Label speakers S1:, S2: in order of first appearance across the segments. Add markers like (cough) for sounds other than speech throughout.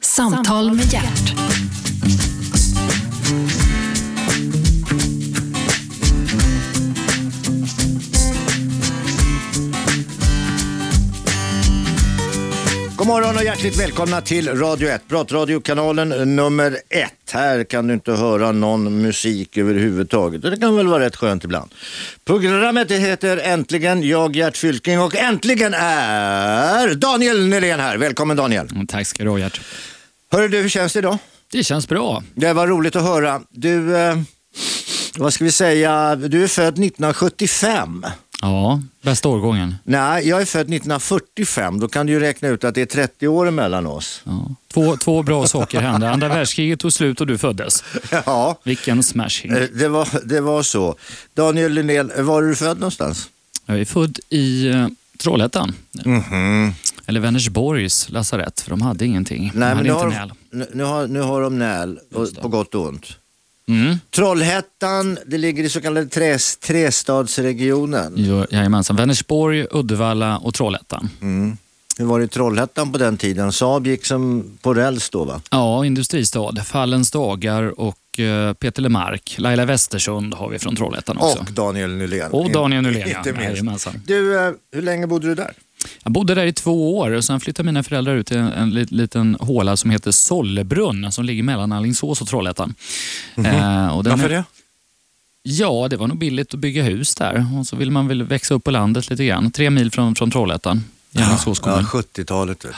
S1: Samtal med hjärt.
S2: God morgon och hjärtligt välkomna till Radio 1, pratradiokanalen nummer 1. Här kan du inte höra någon musik överhuvudtaget och det kan väl vara rätt skönt ibland. Programmet heter Äntligen, jag Gert Fylking och äntligen är Daniel Nylén här. Välkommen Daniel.
S3: Mm, Tack ska du ha Gert.
S2: Hörru du, hur känns det idag?
S3: Det känns bra.
S2: Det var roligt att höra. Du, eh, vad ska vi säga, du är född 1975.
S3: Ja, bästa årgången.
S2: Nej, jag är född 1945. Då kan du ju räkna ut att det är 30 år mellan oss.
S3: Ja. Två, två bra saker hände. Andra världskriget tog slut och du föddes.
S2: Ja.
S3: Vilken smashing.
S2: Eh, Det var, det var så. Daniel Linnell, var är du född någonstans?
S3: Jag är född i eh, Trollhättan.
S2: Mhm.
S3: Eller Vänersborgs lasarett, för de hade ingenting. de hade
S2: nu,
S3: inte
S2: har,
S3: näl.
S2: nu, nu, har, nu har de näl, och, på gott och ont.
S3: Mm.
S2: Trollhättan, det ligger i så kallade träs, trästadsregionen.
S3: Jo, Jajamensan. Vänersborg, Uddevalla och Trollhättan.
S2: Mm. Hur var det i Trollhättan på den tiden? Saab gick som på räls då va?
S3: Ja, industristad. Fallens dagar och eh, Peter Lemark. Laila Westersund har vi från Trollhättan också.
S2: Och Daniel Nylén.
S3: Och Daniel Nylén, ja.
S2: Inte minst.
S3: Jajamensan.
S2: Du, eh, hur länge bodde du där?
S3: Jag bodde där i två år och sen flyttade mina föräldrar ut till en, en lit- liten håla som heter Sollebrunn som ligger mellan Alingsås och Trollhättan. Eh, och den är-
S2: Mhm. det?
S3: Ja, det var nog billigt att bygga hus där och så ville man väl växa upp på landet lite grann. Tre mil från, från Trollhättan, i Alingsås
S2: Ja,
S3: kommun.
S2: 70-talet vet du.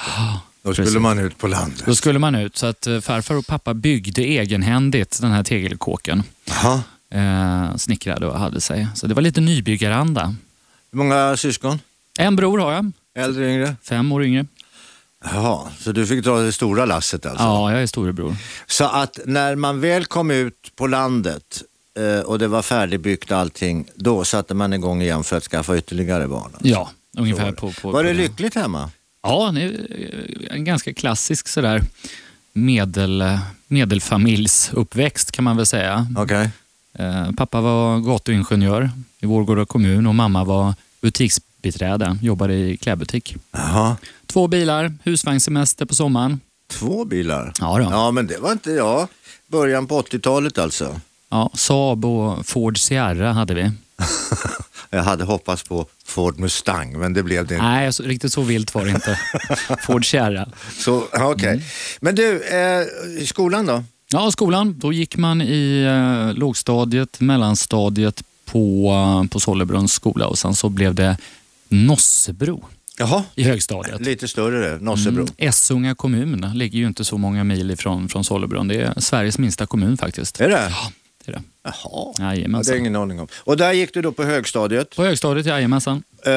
S2: Då
S3: precis.
S2: skulle man ut på landet.
S3: Då skulle man ut, så att eh, farfar och pappa byggde egenhändigt den här tegelkåken.
S2: Jaha.
S3: Eh, snickrade och hade sig. Så det var lite nybyggaranda.
S2: Hur många syskon?
S3: En bror har jag,
S2: Äldre, yngre?
S3: fem år yngre.
S2: Alltså. Jaha, så du fick dra det stora lasset alltså?
S3: Ja, jag är storebror.
S2: Så att när man väl kom ut på landet eh, och det var färdigbyggt allting, då satte man igång igen för att skaffa ytterligare barn? alltså.
S3: Ja,
S2: Så var
S3: ungefär
S2: det.
S3: på, på...
S2: var det
S3: på
S2: lyckligt hemma?
S3: Ja, det är eh, en ganska klassisk sådär medel, eh, medelfamiljsuppväxt kan man väl säga.
S2: Okej.
S3: Eh, pappa var gatuingenjör i Vårgårda kommun och mamma var butiksbiträde, jobbade i klädbutik.
S2: Jaha.
S3: Två bilar, husvagnssemester på sommaren.
S2: Två bilar?
S3: Ja, då.
S2: Ja, men det var inte jag. Början på 80-talet
S3: (laughs)
S2: alltså.
S3: Ja, Saab och Ford Sierra hade vi.
S2: Jag hade hoppats på Ford Mustang, men det blev det inte.
S3: Nej, så, riktigt så vilt var det inte. Ford Sierra.
S2: Så, okej.
S3: Mm.
S2: Men du, eh, i skolan då?
S3: Ja, skolan. Då gick man i eh, lågstadiet, mellanstadiet på, eh, på Sollebrunns skola och sen så blev det Nossebro
S2: Jaha.
S3: i högstadiet.
S2: Lite större det, Nossebro.
S3: Mm, Essunga kommun ligger ju inte så många mil ifrån från Sollebrunn. Det är Sveriges minsta kommun faktiskt.
S2: Är det?
S3: Ja, det är det.
S2: Jaha. Ja, det har
S3: Jajamensan.
S2: jag ingen aning om. Och där gick du då på högstadiet?
S3: På högstadiet, jajamensan.
S2: Eh,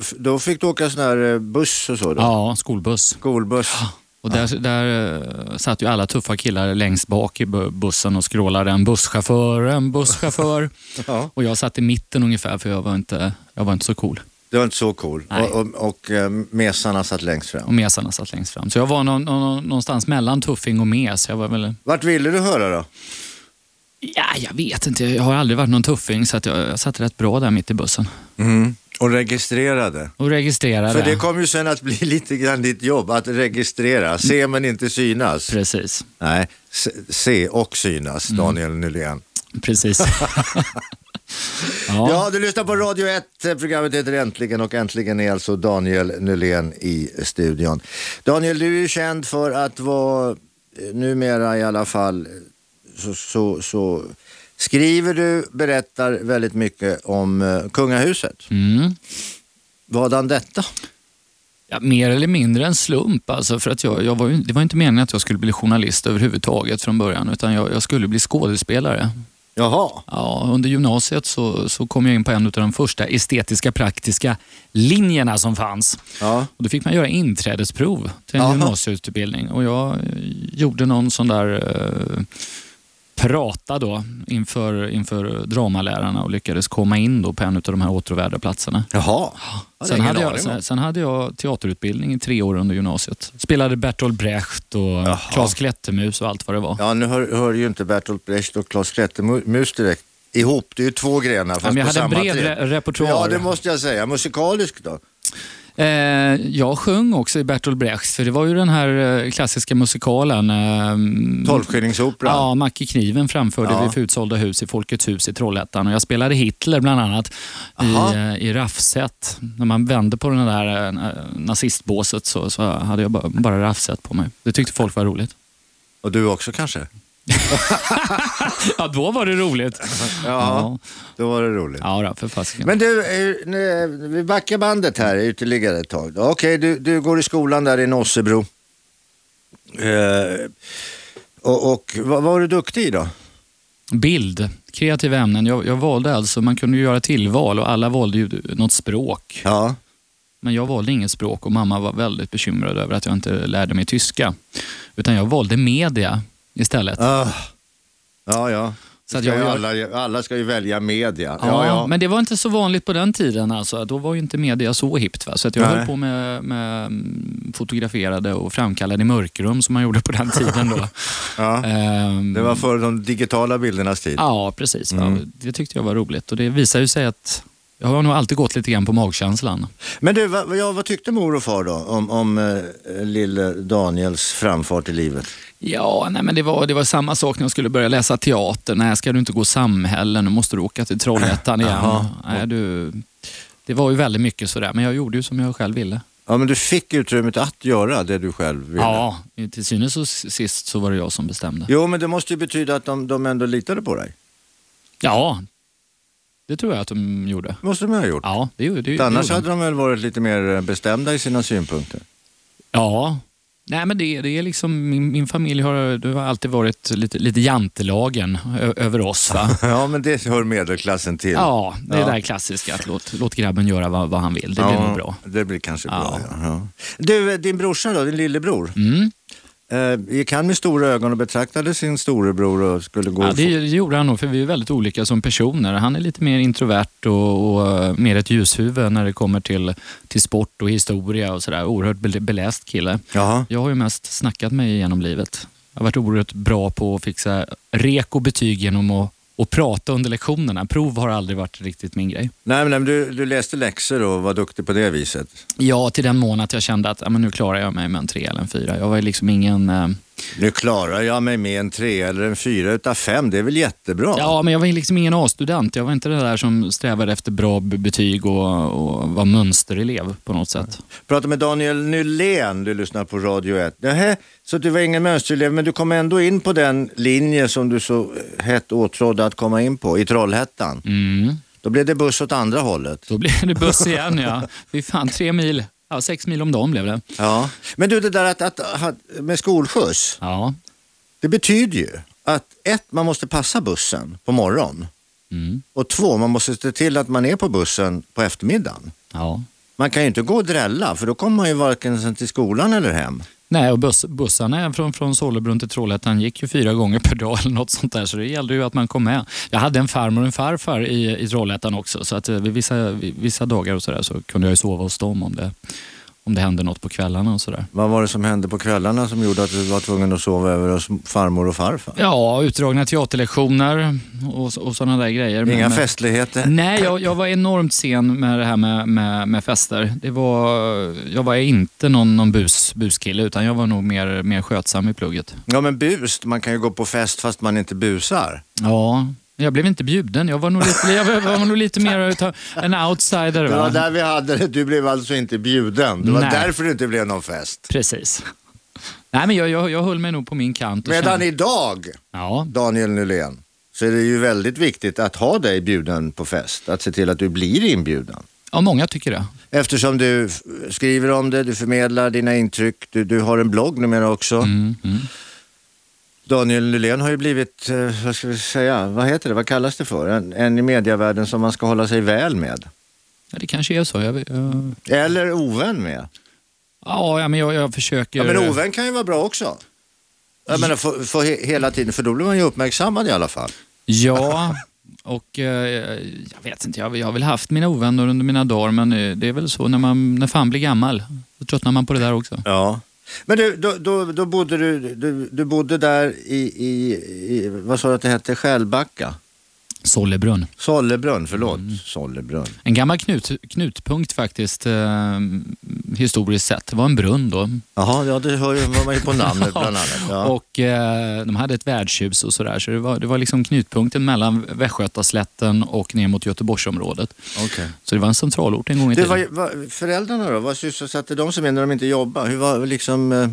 S2: f- då fick du åka sån här eh, buss och så då?
S3: Ja, skolbuss.
S2: Skolbuss.
S3: Och där, där eh, satt ju alla tuffa killar längst bak i bu- bussen och skrålade en busschaufför,
S2: (laughs)
S3: en busschaufför.
S2: Ja.
S3: och jag satt i mitten ungefär för jag var inte, jag var inte så cool.
S2: Det var inte så cool.
S3: Nej. Mm.
S2: Och, och, och eh, mesarna satt längst
S3: och
S2: fram.
S3: mesarna satt längst fram. Så jag var nå- nå- någonstans mellan tuffing och mes. Jag var väl,
S2: Vart ville du höra då?
S3: ja, jag vet inte, jag har aldrig varit någon tuffing så att jag, jag satt rätt bra där mitt i bussen.
S2: Mm. Och registrerade.
S3: Och registrerade.
S2: För det kom ju sen att bli (laughs) lite grann ditt jobb, att registrera. Se men inte synas.
S3: Mm. Precis,
S2: Nej, se- se och synas,
S3: Mm.
S2: Daniel Nylén. (laughs)
S3: precis.
S2: Ja.
S3: ja.
S2: du lyssnar på Radio 1. Programmet heter Äntligen och äntligen är alltså Daniel Nylén i studion. Daniel, du är ju känd för att vara, eh, numera i alla fall, eh, så, så, så skriver du, berättar väldigt mycket om eh, kungahuset.
S3: Mm.
S2: Vadan detta?
S3: Ja, mer eller mindre en slump. Alltså, för att jag, jag var ju, det var inte meningen att jag skulle bli journalist överhuvudtaget från början, utan jag, jag skulle bli skådespelare.
S2: Jaha.
S3: Ja, under gymnasiet så, så kom jag in på en av de första estetiska praktiska linjerna som fanns.
S2: Ja.
S3: Och då fick man göra inträdesprov till en
S2: Jaha.
S3: gymnasieutbildning och jag eh, gjorde någon sån där eh, prata då inför, inför dramalärarna och lyckades komma in då på en av de här åtråvärda platserna.
S2: Jaha. Ja, det är
S3: Sen
S2: ingen
S3: hade, jag,
S2: aning om.
S3: sen, sen hade jag teaterutbildning i tre år under gymnasiet. Spelade Bertolt Brecht och
S2: Jaha.
S3: Claes Klättermus och allt vad det var.
S2: Ja, nu hör, hör ju inte Bertolt Brecht och Claes Klättermus direkt ihop. Det är ju två grenar fast
S3: men jag
S2: på
S3: hade en
S2: samma
S3: bred
S2: träd.
S3: re- repertoar.
S2: Ja, det måste jag säga. Musikalisk då?
S3: Eh, jag sjöng också i Bertolt Brechts, för det var ju den här eh, klassiska musikalen. Eh,
S2: Tolvskillingsoperan.
S3: Ja, Macke Kniven framförde
S2: Ja.
S3: vi för utsålda hus i Folkets hus i Trollhättan. Och jag spelade Hitler bland annat
S2: Aha.
S3: i, eh, i Raffset. När man vände på det där eh, nazistbåset så, så hade jag bara, bara Raffset på mig. Det tyckte folk var roligt.
S2: Och du också kanske?
S3: Ja, då var det roligt.
S2: Ja, då var det roligt.
S3: Ja, då, för fasiken.
S2: Men du, eh, nu, eh, vi backar bandet här ytterligare ett tag. Okej, du, du går i skolan där i Nossebro. Eh, och och vad vad var du duktig i då?
S3: Bild, kreativa ämnen. Jag, jag valde alltså, man kunde ju göra tillval och alla valde ju något språk.
S2: Ja,
S3: Men jag valde inget språk och mamma var väldigt bekymrad över att jag inte lärde mig tyska. Utan jag valde media istället.
S2: ah. ja. ja.
S3: Så att
S2: Ska
S3: jag
S2: ju
S3: gör-
S2: alla, alla ska ju välja media. Ja,
S3: Ja,
S2: ja.
S3: Men det var inte så vanligt på den tiden. Alltså. Då var ju inte media så hippt. Va? Så att jag
S2: Nej.
S3: höll på med, med mm, fotograferade och framkallade i mörkrum som man gjorde på den tiden. Då.
S2: (laughs) Ja.
S3: Ehm,
S2: Det var Mm. före de digitala bildernas tid.
S3: Ja, precis. va. Det tyckte jag var roligt. Och det visar ju sig att jag har nog alltid gått lite grann på magkänslan.
S2: Men du, vad, ja, vad tyckte mor och far då om, om eh, lille Daniels framfart i livet?
S3: Ja, nej, men det var, det var samma sak när jag skulle börja läsa teater. Nej, ska du inte gå samhällen? Nu måste du åka till Trollhättan igen.
S2: Jaha.
S3: nej, du, det var ju väldigt mycket sådär, men jag gjorde ju som jag själv ville.
S2: Ja, men du fick utrymmet att göra det du själv ville.
S3: Ja, till synes och sist så var det jag som bestämde.
S2: Jo, men det måste ju betyda att de, de ändå litade på dig.
S3: Ja, det tror jag att de gjorde.
S2: Det måste de ha gjort.
S3: Ja, det gjorde det,
S2: Annars
S3: gjorde de.
S2: hade de väl varit lite mer eh, bestämda i sina synpunkter.
S3: Ja. Nej, men det, det är liksom, min, min familj har, du har alltid varit lite, lite jantelagen ö, över oss. Va?
S2: (laughs) Ja, men det hör medelklassen till.
S3: Ja, det är
S2: Ja.
S3: det där klassiska att låt, låt grabben göra vad, vad han vill. Det blir
S2: Ja,
S3: nog bra.
S2: Det blir kanske bra,
S3: Ja.
S2: ja. ja. Du, eh, din brorsa då, din lillebror.
S3: Mm.
S2: Eh, gick han med stora ögon och betraktade sin storebror och skulle gå
S3: Ja,
S2: och
S3: det gjorde han nog, för vi är väldigt olika som personer. Han är lite mer introvert och, och eh, mer ett ljushuvud när det kommer till, till sport och historia och sådär. Oerhört bel- beläst kille.
S2: få- Jaha.
S3: Jag har ju mest snackat mig igenom livet. Jag har varit oerhört bra på att fixa rek och betyg genom att och prata under lektionerna. Prov har aldrig varit riktigt min grej.
S2: Nej, men, nej, men du, du läste läxor och var duktig på det viset.
S3: Ja, till den mån att jag kände att ja, men nu klarar jag mig med en tre eller en fyra. Jag var ju liksom ingen... Eh,
S2: Nu klarar jag mig med en tre eller en fyra utav fem, det är väl jättebra?
S3: ja, men jag var ju liksom ingen A-student. Jag var inte den där som strävade efter bra b- betyg och, och var mönsterelev på något sätt.
S2: Prata med Daniel Nylén, du lyssnar på Radio 1. Nähä, så du var ingen mönsterelev, men du kom ändå in på den linje som du så eh, hett åtrådde att komma in på, i Trollhättan.
S3: Mm.
S2: Då blev det buss åt andra hållet.
S3: Då blev det buss igen ja. Fy fan, tre mil. Ja, sex mil om dagen blev det.
S2: Ja. Men du, det där att, att, ha- med skolskjuts,
S3: Ja.
S2: det betyder ju att ett, man måste passa bussen på morgonen.
S3: Mm.
S2: Och två, man måste se till att man är på bussen på eftermiddagen.
S3: ja.
S2: Man kan ju inte gå och drälla, för då kommer man ju varken sen till skolan eller hem.
S3: Nej, och buss, bussarna från, från Sollebrunn till Trollhättan gick ju fyra gånger per dag eller något sånt där, så det gällde ju att man kom med. Jag hade en farmor och en farfar i, i Trollhättan också, så att eh, vid vissa, vid vissa dagar och så, där, så kunde jag ju sova hos dem om det, om det hände något på kvällarna och sådär.
S2: Vad var det som hände på kvällarna som gjorde att du var tvungen att sova över hos farmor och farfar?
S3: Ja, utdragna teaterlektioner och, och sådana där grejer. Men-
S2: Inga
S3: men-
S2: festligheter?
S3: Nej, jag, jag var enormt sen med det här med, med, med fester. Det var, jag var inte någon, någon bus, buskille, utan jag var nog mer, mer skötsam i plugget.
S2: Ja men bust, man kan ju gå på fest fast man inte busar.
S3: Ja, jag blev inte bjuden. Jag var nog lite, jag var, jag var nog lite mer utav en outsider.
S2: Det var
S3: Va?
S2: där vi hade det, du blev alltså inte bjuden. Det var
S3: Nej.
S2: därför det inte blev någon fest.
S3: Precis. Nej, men jag, jag, jag höll mig nog på min kant. Och
S2: Medan
S3: kände,
S2: idag,
S3: ja,
S2: Daniel Nylén, så är det ju väldigt viktigt att ha dig bjuden på fest. Att se till att du blir inbjuden.
S3: ja, många tycker det.
S2: Eftersom du f- skriver om det, du förmedlar dina intryck, du, du har en blogg numera också.
S3: Mm, mm.
S2: Daniel Nylén har ju blivit, eh, vad ska vi säga, vad heter det, vad kallas det för? En, en i medievärlden som man ska hålla sig väl med.
S3: Ja, det kanske är så. Jag, vet- jag,
S2: Eller ovän med.
S3: ja, ja, men jag, jag försöker...
S2: Ja, men ovän kan ju vara bra också. Jag menar, för, för he, hela tiden, för då blir man ju uppmärksammad i alla fall.
S3: Ja, och eh, jag vet inte. Jag, jag har väl haft mina ovänner under mina dagar, men eh, det är väl så när, man, när fan blir gammal. Då tröttnar man på det där också.
S2: Ja. Men du, då, då, då bodde du, du, du bodde där i, i, i, vad sa du att det hette, Skällbacka?
S3: Sollebrunn.
S2: Sollebrunn, förlåt. Sollebrunn.
S3: En gammal knut, knutpunkt faktiskt, eh, historiskt sett. Det var en brunn då.
S2: Jaha, ja, det hör ju- var man ju på (laughs) namnet bland annat. Ja.
S3: Och eh, de hade ett värdshus och sådär. Så det var, det var liksom knutpunkten mellan Västgötaslätten och ner mot Göteborgsområdet.
S2: Okej.
S3: Så det var en centralort en gång i
S2: Du,
S3: tiden.
S2: vad, vad, föräldrarna då, vad sysselsatte de sig med när de inte jobbade? Hur var, liksom, eh,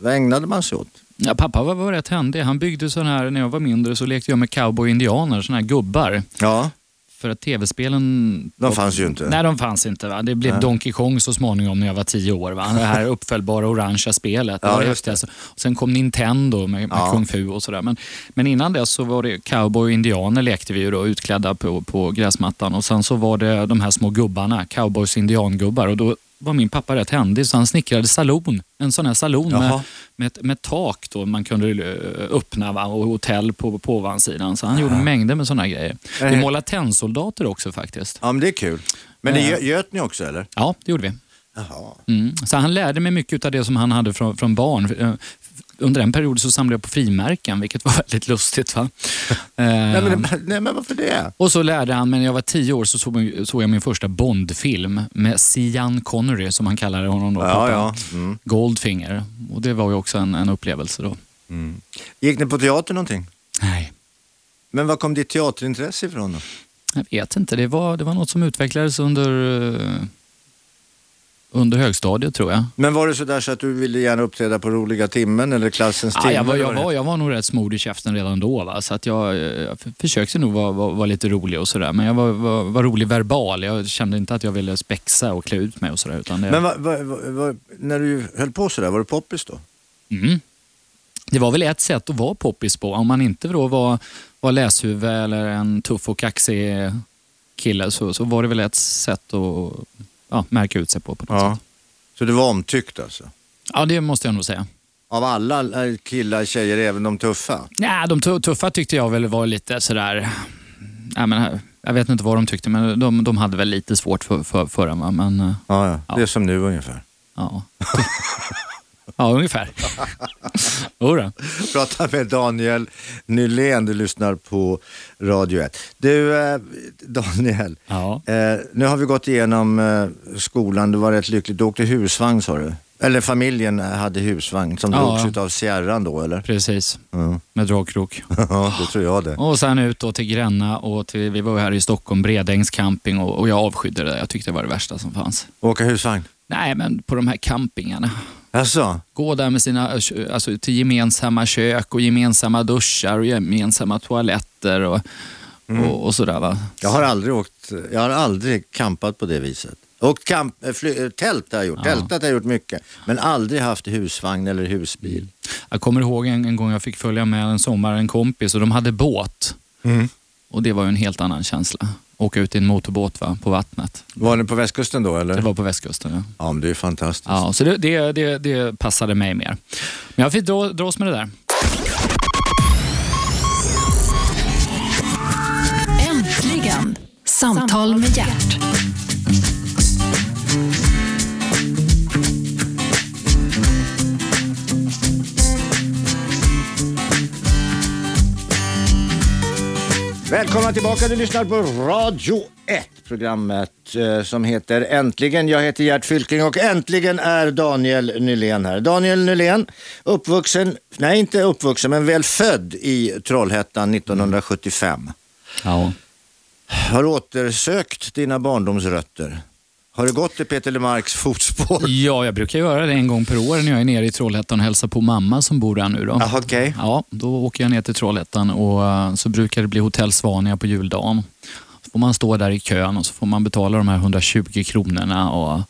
S2: vad ägnade man sig åt?
S3: Ja, pappa var, var rätt händig. Han byggde sån här, när jag var mindre så lekte jag med cowboy-indianer, såna här gubbar.
S2: Ja,
S3: För att tv-spelen...
S2: de fanns ju inte.
S3: Nej, de fanns inte. Va? Det blev
S2: Nej.
S3: Donkey Kong så småningom när jag var tio år. Va?
S2: (laughs)
S3: Det här uppföljbara orangea spelet. Det
S2: Ja,
S3: var det
S2: just det.
S3: häftigaste. Och sen kom Nintendo med, med
S2: Ja.
S3: Kung Fu och sådär. Men, men innan dess så var det cowboy och indianer lekte vi ju då, utklädda på, på gräsmattan. Och sen så var det de här små gubbarna, cowboys och indiangubbar. Och då var min pappa rätt händig så han snickrade salon. En sån här salon med,
S2: Jaha.
S3: med, ett- med tak då man kunde eh, öppna va? och hotell på, på ovansidan. Så han gjorde mängder med såna grejer. Vi
S2: Eh.
S3: målade tennsoldater också faktiskt.
S2: Ja, men det är kul. Men det
S3: Ja.
S2: gö- göt ni också eller?
S3: Ja, det gjorde vi.
S2: Jaha.
S3: Mm. Så han lärde mig mycket av det som han hade från, från barn. Eh, Under en period så samlade jag på frimärken, vilket var (laughs) väldigt lustigt. Va? Eh,
S2: Nej, men, (laughs) nej, men varför det?
S3: Och så lärde han mig, när jag var tio år så såg, såg jag min första Bondfilm med Sean Connery, som han kallade honom då.
S2: Ja,
S3: pappa.
S2: ja. Mm.
S3: Goldfinger. Och det var ju också en, en upplevelse då.
S2: Gick ni på teater någonting?
S3: Nej,
S2: Men var kom ditt teaterintresse ifrån då?
S3: jag vet inte. Det var, det var något som utvecklades under, eh, under högstadiet tror jag.
S2: Men var det sådär så att du ville gärna uppträda på roliga timmen eller klassens
S3: Ja,
S2: timme?
S3: jag, var,
S2: eller
S3: jag,
S2: vad det
S3: var, jag var nog rätt smord i käften redan då. Va? Så att jag, eh, jag f- försökte nog vara, vara, vara lite rolig och sådär. Men jag var, var, var rolig verbal. Jag kände inte att jag ville spexa och klä ut mig och sådär. Utan det,
S2: heter? Men vad- vad- vad- vad- när du höll på sådär, var du poppis då?
S3: mm. det var väl ett sätt att vara poppis på. Om man inte då var, var läshuvud eller en tuff och kaxig kille så, så var det väl ett sätt att ja, märka ut sig på. på något
S2: Ja.
S3: sätt.
S2: Så du var omtyckt alltså?
S3: ja, det måste jag nog säga.
S2: Av alla eh, killar, tjejer, även de tuffa?
S3: Nej, de tu- tuffa tyckte jag väl var lite sådär... Nej, men, jag vet inte vad de tyckte, men de, de hade väl lite svårt för, för, för den. va? Men, eh,
S2: Ja, ja.
S3: Ja.
S2: Det är som nu ungefär.
S3: ja. (laughs) ja, ungefär. (laughs) Jodå.
S2: (laughs) Prata med Daniel Nylén, du lyssnar på Radio 1. Du, eh, Daniel,
S3: ja.
S2: eh, nu har vi gått igenom eh, skolan, du var rätt lycklig. Du åkte husvagn sa du? Eller familjen hade husvagn som
S3: Ja.
S2: drogs utav Sierran då eller?
S3: Precis,
S2: Mm.
S3: med dragkrok.
S2: (laughs) Ja, det tror jag det.
S3: Och sen ut då till Gränna och till, vi var ju här i Stockholm, Bredängs camping och, och jag avskydde det där. Jag tyckte det var det värsta som fanns.
S2: Åka husvagn?
S3: Nej, men på de här campingarna.
S2: Jaså?
S3: Gå där med sina, alltså, till gemensamma kök och gemensamma duschar och gemensamma toaletter och, och, och sådär. Va?
S2: Jag har aldrig åkt, jag har aldrig campat på det viset. Åkt kamp, eh, fly, eh, tält har jag gjort,
S3: Ja.
S2: tältat har jag gjort mycket. Men aldrig haft husvagn eller husbil.
S3: Jag kommer ihåg en, en gång jag fick följa med en sommar, en kompis, och de hade båt. Och det var ju en helt annan känsla. Åka ut i en motorbåt va? på vattnet.
S2: Var ni på västkusten då eller?
S3: Det var på västkusten. Ja.
S2: Ja, men det är fantastiskt.
S3: Ja, så det, det, det, det passade mig mer. Men jag fick dra, dras med det där.
S1: Äntligen! Samtal med hjärt.
S2: Välkomna tillbaka, du lyssnar på Radio 1, programmet eh, som heter Äntligen. Jag heter Gert Fylking och äntligen är Daniel Nylén här. Daniel Nylén, uppvuxen, nej inte uppvuxen, men väl född i Trollhättan 1975.
S3: Ja.
S2: Har återsökt dina barndomsrötter? Har du gått i Peter Lemarks fotspår?
S3: ja, jag brukar göra det en gång per år när jag är nere i Trollhättan och hälsar på mamma som bor där nu. Då.
S2: Jaha, okej.
S3: Ja, då åker jag ner till Trollhättan och eh, så brukar det bli Hotell Svania på juldagen. Så får man stå där i kön och så får man betala de här 120 kronorna. Och,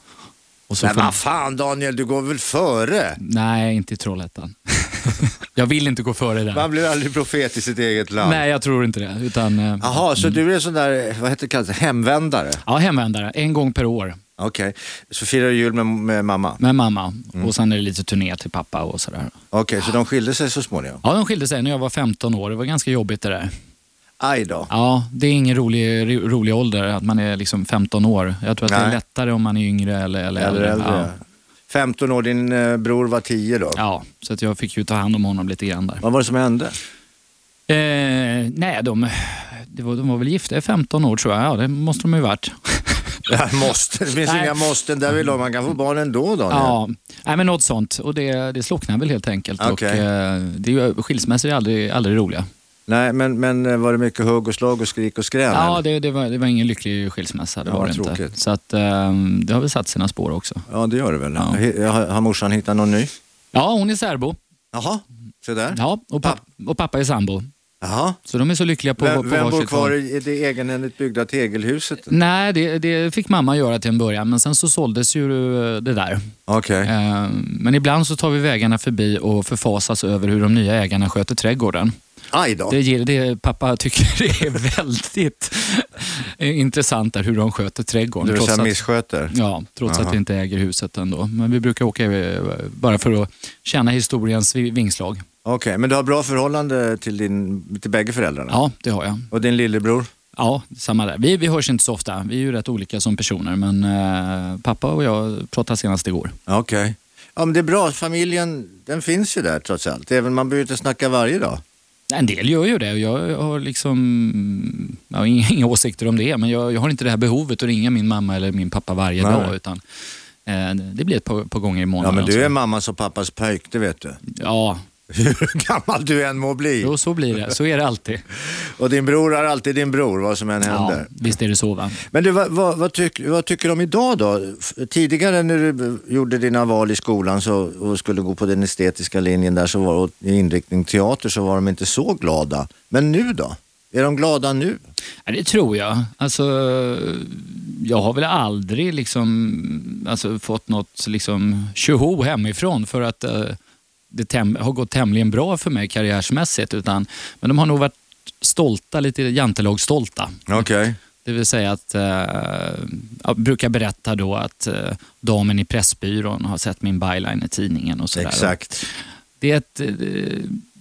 S3: och så
S2: Nej,
S3: får man,
S2: vad fan Daniel, du går väl före?
S3: nej, inte i Trollhättan. (laughs) jag vill inte gå före där.
S2: Man blir aldrig profet i sitt eget land.
S3: Nej, jag tror inte det. Utan, eh,
S2: Jaha, så du är sån där, vad heter det, kallas, hemvändare?
S3: ja, hemvändare, en gång per år
S2: Okej, så firar du jul med, med mamma?
S3: med mamma.
S2: Mm.
S3: Och sen är det lite turné till pappa och sådär.
S2: Okej, så de skilde sig så småningom?
S3: Ja, de skilde sig när jag var 15 år. Det var ganska jobbigt det där.
S2: Aj då.
S3: Ja, det är ingen rolig, ro- rolig ålder att man är liksom 15 år. Jag tror att det
S2: Nej.
S3: är lättare om man är yngre eller, eller
S2: Eller
S3: äldre. Ja.
S2: äldre. 15 år, din eh, bror var 10 då.
S3: Ja, så att jag fick ju ta hand om honom lite grann där.
S2: Vad var det som hände?
S3: Eh, nej, de, det var, de var väl gifta i 15 år tror jag. Ja, det måste de ju varit.
S2: Ja, måste. Det finns
S3: Nej.
S2: inga måsten där vill man kan få barn ändå Daniel.
S3: (laughs) Ja, nej, men något sånt. Och det, det slocknar väl helt enkelt. Och,
S2: Okej.
S3: eh, det är ju, skilsmässor är aldrig, aldrig roliga.
S2: Nej, men, men eh, var det mycket hugg och slag och skrik och skrän?
S3: Ja,
S2: eller?
S3: det, det, var, det var ingen lycklig skilsmässa. Det
S2: Ja,
S3: var det inte.
S2: tråkigt.
S3: Så att, ehm, det har väl satt sina spår också.
S2: ja, det gör det väl.
S3: Ja.
S2: He- Har, har morsan hittat någon ny?
S3: Ja, hon är särbo.
S2: Jaha, så där.
S3: Ja, och, papp, och pappa är sambo.
S2: Jaha.
S3: Så de är så lyckliga på, på
S2: Vem, vem bor
S3: varsitt
S2: kvar
S3: håll.
S2: i i det egenhändigt byggda tegelhuset?
S3: Nej, det, det fick mamma göra till en början, men sen så såldes ju eh, det där.
S2: Okej.
S3: Eh, Men ibland så tar vi vägarna förbi och förfasas över hur de nya ägarna sköter trädgården.
S2: Aj då.
S3: Det, ger- det pappa tycker (laughs) det är väldigt intressant där hur de sköter trädgården.
S2: Du vill
S3: trots
S2: säga
S3: att-
S2: missköter?
S3: Ja, trots att vi inte äger huset ändå. Men vi brukar åka eh, bara för att känna historiens vi- vingslag.
S2: Okej, men du har bra förhållande till, din, till bägge föräldrarna?
S3: Ja, det har jag.
S2: Och din lillebror?
S3: Ja, samma där. Vi, vi hörs inte så ofta. Vi är ju rätt olika som personer, men eh, pappa och jag pratade senast igår.
S2: Okej. Ja, men det är bra. Familjen, den finns ju där trots allt. Även man behöver ju inte snacka varje dag.
S3: En del gör ju det och jag har liksom ja, (laughs) inga, inga åsikter om det, men jag, jag har inte det här behovet att ringa min mamma eller min pappa varje
S2: Nej.
S3: dag, utan eh, det blir ett par, par gånger i
S2: Ja,
S3: månaden.
S2: men du
S3: Så-
S2: är mammas och pappas pöjk, det vet du. (laughs)
S3: Ja,
S2: Hur gammal du än må bli.
S3: jo, så blir det. Så är det alltid.
S2: Och din bror är alltid din bror, vad som än
S3: Ja,
S2: händer.
S3: visst är det så va?
S2: Men du, vad, vad, vad, tyck, vad tycker du om idag då? F- Tidigare när du gjorde dina val i skolan så, och skulle gå på den estetiska linjen där så var, och i inriktning teater så var de inte så glada. Men nu då? Är de glada nu?
S3: Ja, det tror jag. Alltså, jag har väl aldrig liksom, alltså, fått något liksom, tjoho hemifrån för att eh, det tem- har gått tämligen bra för mig karriärsmässigt. Utan, men de har nog varit stolta, lite jantelag-stolta.
S2: Okej.
S3: Det vill säga att, eh, jag brukar berätta då att eh, damen i Pressbyrån har sett min byline i tidningen och sådär.
S2: Exakt.
S3: Det är ett eh,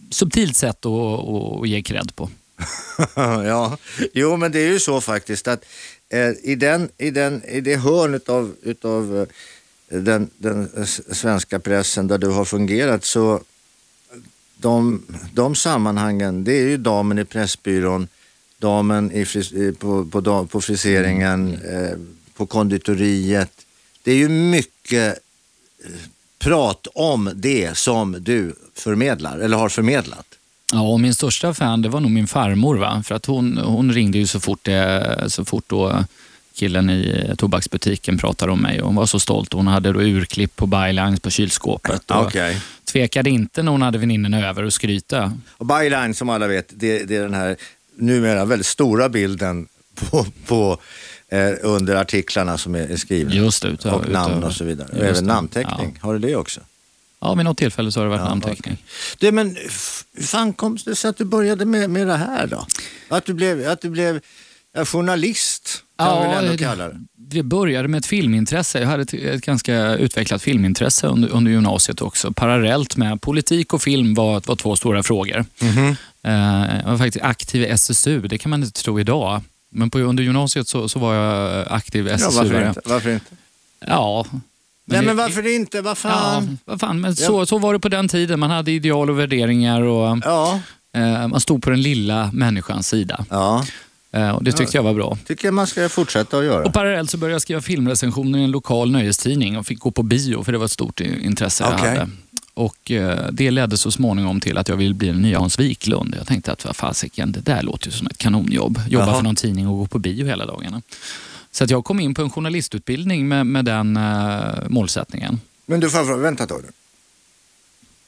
S3: subtilt sätt att, att, att ge cred på.
S2: (laughs) ja. Jo, men det är ju så faktiskt att eh, i, den, i, den, i det hörn utav, utav eh, den, den s- svenska pressen där du har fungerat så de, de sammanhangen, det är ju damen i Pressbyrån, damen i fris, i- på, på, da- på friseringen, eh, på konditoriet. Det är ju mycket eh, prat om det som du förmedlar eller har förmedlat.
S3: Ja, och min största fan det var nog min farmor. Va? För att hon, hon ringde ju så fort, eh, så fort då killen i tobaksbutiken pratade om mig. Och hon var så stolt. Hon hade då urklipp på bylines
S2: (laughs)
S3: på kylskåpet. Och
S2: Okej.
S3: Tvekade inte när hon hade väninnorna över att skryta.
S2: Och byline som alla vet, det, det är den här numera väldigt stora bilden på, på, eh, under artiklarna som är, är skrivna.
S3: Just det, utöver-
S2: och namn
S3: utöver-
S2: och så vidare. Och
S3: just
S2: även
S3: det.
S2: namnteckning, har du det också?
S3: Ja, vid något tillfälle så har det varit
S2: Ja,
S3: namnteckning.
S2: Du, men f- hur fan kom det sig att du började med, med det här då? Att du blev, att du blev ja, journalist, kan vi väl ändå kalla det.
S3: det började med ett filmintresse. Jag hade ett, ett ganska utvecklat filmintresse under, under gymnasiet också. Parallellt med politik och film var, var två stora frågor.
S2: Mhm.
S3: Eh, jag var faktiskt aktiv i SSU, det kan man inte tro idag. Men på, under gymnasiet så, så var jag aktiv i
S2: Ja,
S3: SSU.
S2: varför inte? Varför inte?
S3: Ja.
S2: Nej,
S3: det-
S2: men varför inte? Vad
S3: Ja,
S2: fan?
S3: vad fan. Men så, så var det på den tiden. Man hade ideal och värderingar och
S2: Ja,
S3: eh, man stod på den lilla människans sida.
S2: ja.
S3: Eh, och det tyckte jag var bra.
S2: tycker jag man ska fortsätta att göra.
S3: Och parallellt så började jag skriva filmrecensioner i en lokal nöjestidning och fick gå på bio för det var ett stort i- intresse jag
S2: Okej.
S3: hade. Och eh, det ledde så småningom till att jag ville bli den nya Hans Wiklund. Jag tänkte att vad fasiken, det där låter ju som ett kanonjobb. Jobba
S2: Jaha.
S3: för någon tidning och gå på bio hela dagarna. Så att jag kom in på en journalistutbildning med, med den eh, målsättningen.
S2: Men du, farfar, vänta ett tag nu.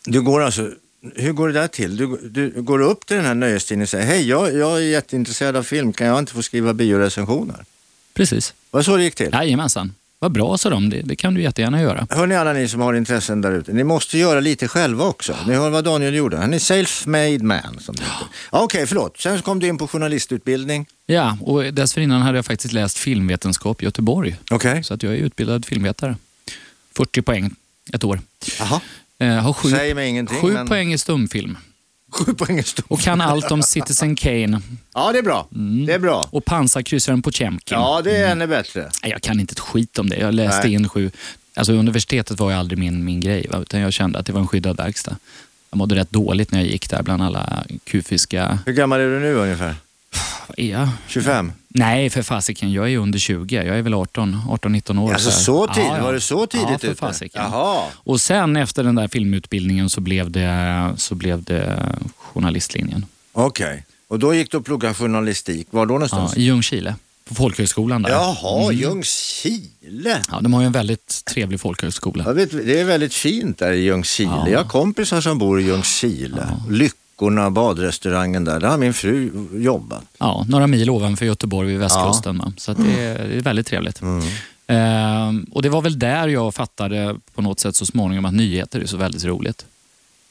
S2: Du går alltså, hur går det där till? Du, du går upp till den här nöjestidningen och säger, hej jag, jag är jätteintresserad av film, kan jag inte få skriva biorecensioner?
S3: Precis.
S2: Var det så det gick till?
S3: Jajamensan. Vad bra sa de, det, det kan du jättegärna göra.
S2: Hör ni alla ni som har intressen där ute, ni måste göra lite själva också. Ni hör vad Daniel gjorde, han är self-made man. Som det heter. Ja, Okej, förlåt. Sen kom du in på journalistutbildning.
S3: Ja, och dessförinnan hade jag faktiskt läst filmvetenskap i Göteborg.
S2: Okej.
S3: Så att jag är utbildad filmvetare. 40 poäng, ett år.
S2: Jaha.
S3: Eh, har sju,
S2: Säger mig ingenting,
S3: sju
S2: men-
S3: poäng i stumfilm.
S2: Sju poäng är stort.
S3: Och kan allt om Citizen Kane
S2: Ja, det är bra. Det är bra.
S3: och pansarkryssaren Potemkin.
S2: Ja, det är ännu bättre.
S3: Nej, Jag kan inte ett skit om det. Jag läste
S2: Nej.
S3: in sju... Alltså universitetet var ju aldrig min, min grej, va? utan jag kände att det var en skyddad verkstad. Jag mådde rätt dåligt när jag gick där bland alla kufiska...
S2: Hur gammal är du nu ungefär?
S3: vad är jag?
S2: 25?
S3: Nej, för fasiken. Jag är under 20. Jag är väl 18, 18-19 år.
S2: Alltså,
S3: här.
S2: så tidigt? Var det så tidigt
S3: Ja, för
S2: ute?
S3: fasiken.
S2: Jaha.
S3: Och sen efter den där filmutbildningen så blev det, så blev det journalistlinjen.
S2: Okej. Och då gick du och pluggade journalistik. Var då
S3: Ja,
S2: någonstans?
S3: I Ljungskile, på folkhögskolan där.
S2: Jaha,
S3: Mm.
S2: Ljungskile.
S3: Ja, de har ju en väldigt trevlig folkhögskola.
S2: Jag vet, det är väldigt fint där i Ljungskile.
S3: Ja.
S2: Jag har kompisar som bor i Ljungskile. Lyckorna, badrestaurangen där. Där har min fru jobbat.
S3: Ja, några mil ovanför Göteborg vid västkusten. va. Så att det, är, det är väldigt trevligt.
S2: Mm.
S3: Ehm, och Det var väl där jag fattade på något sätt så småningom att nyheter är så väldigt roligt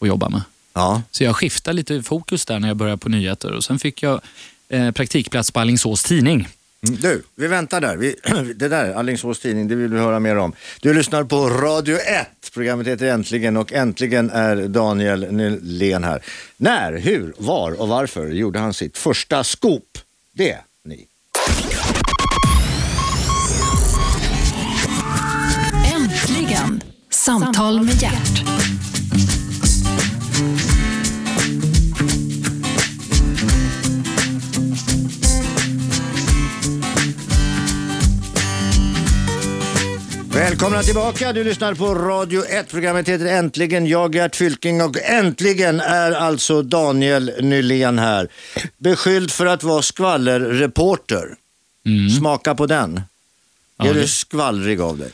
S3: att jobba med.
S2: Ja.
S3: Så jag skiftade lite fokus där när jag började på nyheter och sen fick jag eh, praktikplats på Alingsås tidning.
S2: Mm, Du, vi väntar där. Vi, (clears throat) det där, Alingsås tidning, det vill vi höra mer om. Du lyssnar på Radio 1. Programmet heter Äntligen och äntligen är Daniel Nylén här. När, hur, var och varför gjorde han sitt första scoop? Det, ni.
S1: Äntligen! Samtal med hjärt.
S2: Välkomna tillbaka, du lyssnar på Radio 1. Programmet heter Äntligen, jag Gert Fylking och äntligen är alltså Daniel Nylén här. Beskylld för att vara skvallerreporter. Smaka på den.
S3: Mm. Ja,
S2: är
S3: det-
S2: du skvallrig av dig?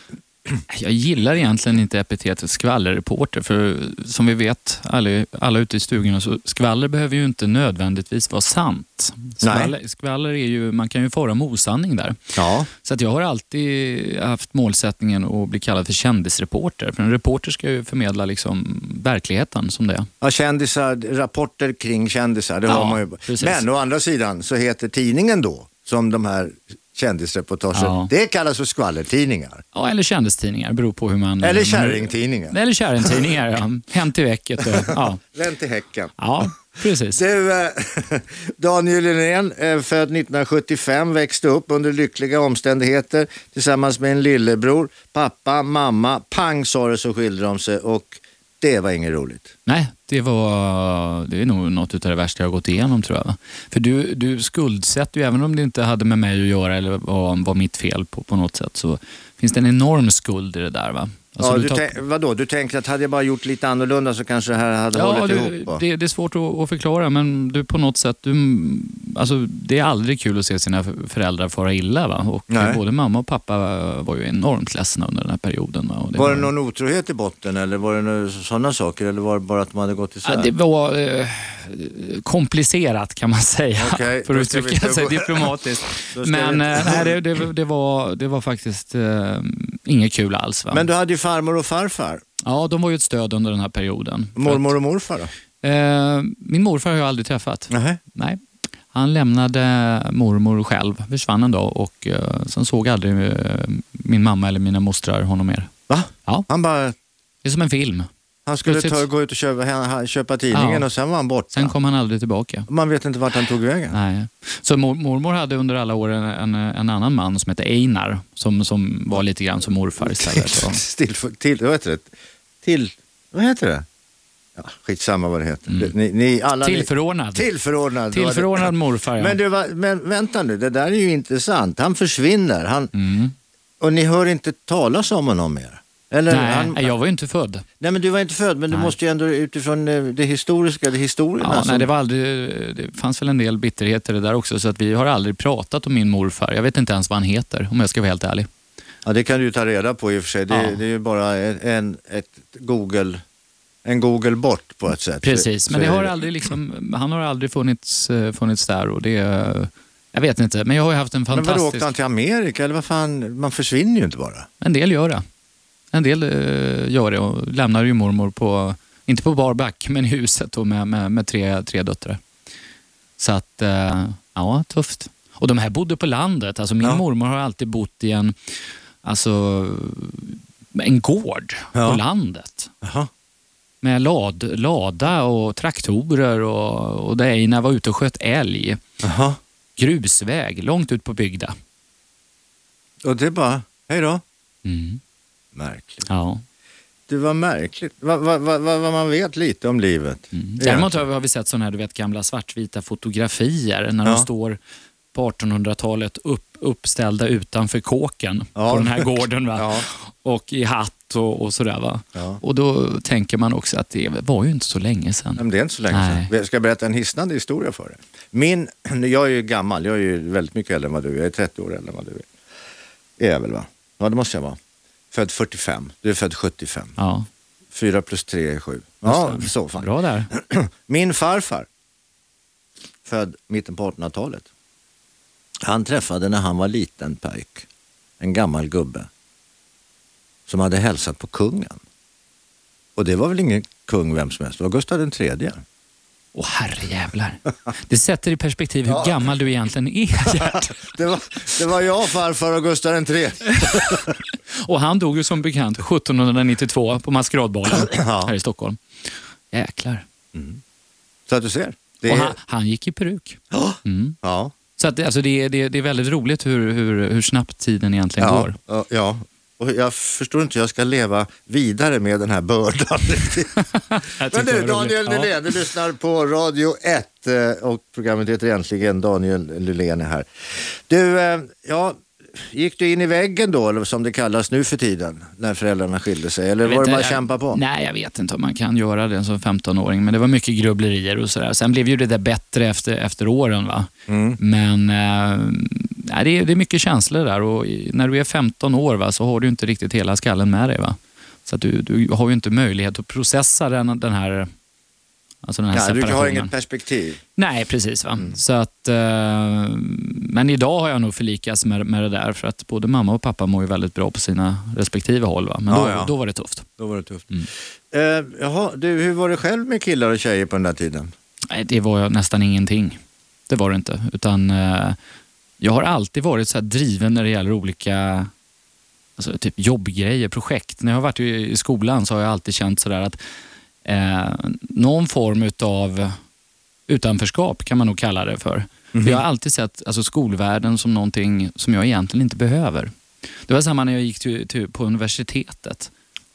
S3: Jag gillar egentligen inte epitetet skvallerreporter för som vi vet alla, alla ute i stugorna så skvaller behöver ju inte nödvändigtvis vara sant. Skvaller, skvaller är ju, man kan ju föra med osanning där.
S2: Ja.
S3: Så att jag har alltid haft målsättningen att bli kallad för kändisreporter. För en reporter ska ju förmedla liksom verkligheten som det är.
S2: Ja, kändisar, rapporter kring kändisar, det
S3: Ja,
S2: har man ju.
S3: precis.
S2: Men å andra sidan så heter tidningen då, som de här kändisreportagen,
S3: Ja.
S2: det kallas för skvallertidningar.
S3: Ja, eller kändistidningar, beror på hur man...
S2: Eller
S3: man-
S2: kärringtidningar.
S3: Eller kärringtidningar, ja. Hänt i vecket. och- Ja,
S2: Vänd till häcken.
S3: ja precis.
S2: Du, eh, (laughs) Daniel Lindén, eh, född 1975, växte upp under lyckliga omständigheter tillsammans med en lillebror, pappa, mamma. Pang sa det så skilde de sig och det var inget roligt.
S3: Nej, det var det är nog något av det värsta jag har gått igenom tror jag. va? För du, du skuldsätter ju, även om det inte hade med mig att göra eller var, var mitt fel på, på något sätt, så finns det en enorm skuld i det där. Va? Alltså,
S2: ja, du
S3: tar-
S2: tänk, vadå, du tänker att hade jag bara gjort lite annorlunda så kanske det här hade
S3: Ja,
S2: hållit
S3: du,
S2: ihop? va?
S3: det, det är svårt att, att förklara men du på något sätt, du, alltså, det är aldrig kul att se sina föräldrar fara illa. Va? Och
S2: Nej.
S3: Både mamma och pappa eh, var ju enormt ledsna under den här perioden. Va? Och
S2: Var det någon otrohet i botten eller var det några sådana saker? Eller var det bara att de hade gått isär?
S3: Ja, det var eh, komplicerat kan man säga,
S2: Okej,
S3: (laughs) för
S2: då
S3: att
S2: ska vi
S3: uttrycka
S2: inte
S3: sig
S2: gå-
S3: diplomatiskt.
S2: (laughs) Då ska
S3: Men
S2: vi
S3: eh,
S2: inte-
S3: nej, det, det, det, var, det var faktiskt eh, inget kul alls. Va?
S2: (laughs) Men du hade ju farmor och farfar.
S3: Ja, de var ju ett stöd under den här perioden. För
S2: Mormor och morfar då?
S3: att, eh, min morfar har jag aldrig träffat.
S2: Nej.
S3: Nej. Han lämnade mormor själv, försvann en dag och eh, sen såg aldrig eh, min mamma eller mina mostrar honom mer.
S2: Va?
S3: Ja,
S2: Han bara...
S3: det är som en film.
S2: Han skulle
S3: Precis.
S2: ta, gå ut och köpa, han- han- köpa tidningen
S3: Ja.
S2: och sen var han borta.
S3: Sen kom han aldrig tillbaka.
S2: Man vet inte vart han tog vägen.
S3: Nej. Så mor, mormor hade under alla år en, en, en annan man som hette Einar, som, som var lite grann som morfar istället.
S2: (laughs)
S3: Och,
S2: Still, till, vad heter det? Till, vad heter det? Ja, skitsamma vad det heter. Ni, ni, alla,
S3: Mm. tillförordnad.
S2: Ni, tillförordnad. det var det.
S3: Tillförordnad morfar, ja.
S2: Men, du, va- men vänta nu, det där är ju intressant. Han försvinner han,
S3: Mm.
S2: och ni hör inte talas om honom mer? Eller
S3: Nej,
S2: han,
S3: nej, jag var ju inte född.
S2: Nej men du var inte född, men du
S3: Nej.
S2: måste ju ändå utifrån eh, det historiska, det historierna.
S3: Ja,
S2: som-
S3: nej, det, var aldrig, det fanns väl en del bitterheter det där också, så att vi har aldrig pratat om min morfar. Jag vet inte ens vad han heter, om jag ska vara helt ärlig.
S2: ja, det kan du ju ta reda på i och för sig. Det,
S3: Ja.
S2: det är ju bara en, en, ett Google, en Google bort på ett sätt.
S3: Precis,
S2: Så-
S3: men
S2: så
S3: det
S2: är
S3: har aldrig liksom, han har aldrig funnits, eh, funnits där. Och det, eh, jag vet inte, men jag har ju haft en
S2: Men vadå, åkte
S3: fantastisk...
S2: han till Amerika? Eller vad fan, man försvinner ju inte bara.
S3: En del gör det. En del eh, gör det och lämnar ju mormor på, inte på barback, men i huset då med, med, med tre, tre döttrar. Så att, eh, ja, tufft. Och de här bodde på landet. Alltså min
S2: Ja.
S3: mormor har alltid bott i en, alltså, en gård
S2: Ja.
S3: på landet.
S2: Jaha.
S3: Med lad, lada och traktorer och, och där Einar var ute och sköt älg.
S2: Jaha.
S3: Grusväg, långt ut på bygda.
S2: Och det är bara, hej då.
S3: Mm.
S2: Märkligt.
S3: Ja.
S2: Det var märkligt. Vad va, va, va, vad man vet lite om livet.
S3: Mm. Däremot har vi- har vi sett sådana här du vet, gamla svartvita fotografier när
S2: Ja.
S3: de står på 1800-talet upp, uppställda utanför kåken
S2: Ja.
S3: på den här gården.
S2: (laughs)
S3: Va?
S2: Ja.
S3: Och i hatt och, och sådär. Va?
S2: Ja.
S3: Och då tänker man också att det var ju inte så länge
S2: Nej,
S3: sedan.
S2: Men det är inte så länge sedan.
S3: Nej.
S2: Jag ska berätta en hisnande historia för dig. Min, (clears throat) jag är ju gammal, jag är ju väldigt mycket äldre än vad du är. Jag är 30 år äldre än vad du är. Är jag väl va? Ja det måste jag vara. Född 45, du är född 75.
S3: Ja,
S2: 4 plus 3 är 7. Ja,
S3: Just det.
S2: så fan.
S3: Bra där.
S2: (clears throat) Min farfar, född mitten på 1800-talet. Han träffade när han var liten pojk en gammal gubbe som hade hälsat på kungen. Och det var väl ingen kung vem som helst, det var Gustav den tredje.
S3: Åh
S2: (laughs)
S3: herrejävlar. Det sätter i perspektiv hur
S2: Ja.
S3: gammal du egentligen är,
S2: (laughs)
S3: Gert.
S2: Det var, det var jag, farfar och Gustav den tredje.
S3: Och han dog ju som bekant 1792 på Maskeradbalen
S2: Ja.
S3: här i Stockholm. Jäklar.
S2: Så att du ser. Det är,
S3: Och han, han gick i peruk.
S2: Ja.
S3: Mm.
S2: ja,
S3: Så att, det- alltså, det, är- det, är- det är väldigt roligt hur, hur, hur snabbt tiden egentligen
S2: ja,
S3: går.
S2: ja, ja. Och jag förstår inte hur jag ska leva vidare med den här
S3: (laughs)
S2: bördan. riktigt.
S3: Jag
S2: Men
S3: tyckte
S2: du,
S3: det var roligt.
S2: Daniel
S3: Ja.
S2: Nylén, du lyssnar på Radio 1 eh, och programmet heter Äntligen. Daniel Nylén är här. Du, eh, ja, gick du in i väggen då, eller som det kallas nu för tiden, när föräldrarna skilde sig? Eller
S3: Jag
S2: var
S3: vet
S2: det bara
S3: inte, jag-
S2: kämpa på?
S3: Nej, jag vet inte om man kan göra det som 15-åring, men det var mycket grubblerier och sådär. Sen blev ju det där bättre efter, efter åren. va.
S2: Mm.
S3: Men eh, nej, det, är, det är mycket känslor där och i- när du är 15 år va, så har du inte riktigt hela skallen med dig. va. Så att du, du har ju inte möjlighet att processa den, den här, alltså den här
S2: Ja, du
S3: separationen.
S2: har inget perspektiv.
S3: Nej, precis. Va?
S2: Mm.
S3: Så att, eh, men idag har jag nog förlikats med, med det där för att både mamma och pappa mår ju väldigt bra på sina respektive håll. Va? Men
S2: Ja,
S3: då,
S2: ja.
S3: då var det tufft.
S2: Då var det tufft.
S3: Mm.
S2: Eh, jaha, du, hur var det själv med killar och tjejer på den där tiden?
S3: Nej, det var jag nästan ingenting. Det var det inte. Utan, eh, jag har alltid varit så här driven när det gäller olika alltså, typ jobbgrejer, projekt. När jag har varit i i skolan så har jag alltid känt sådär att eh, någon form utav utanförskap kan man nog kalla det för. För jag har alltid sett alltså, skolvärlden som någonting som jag egentligen inte behöver. Det var samma när jag gick till, till, på universitetet.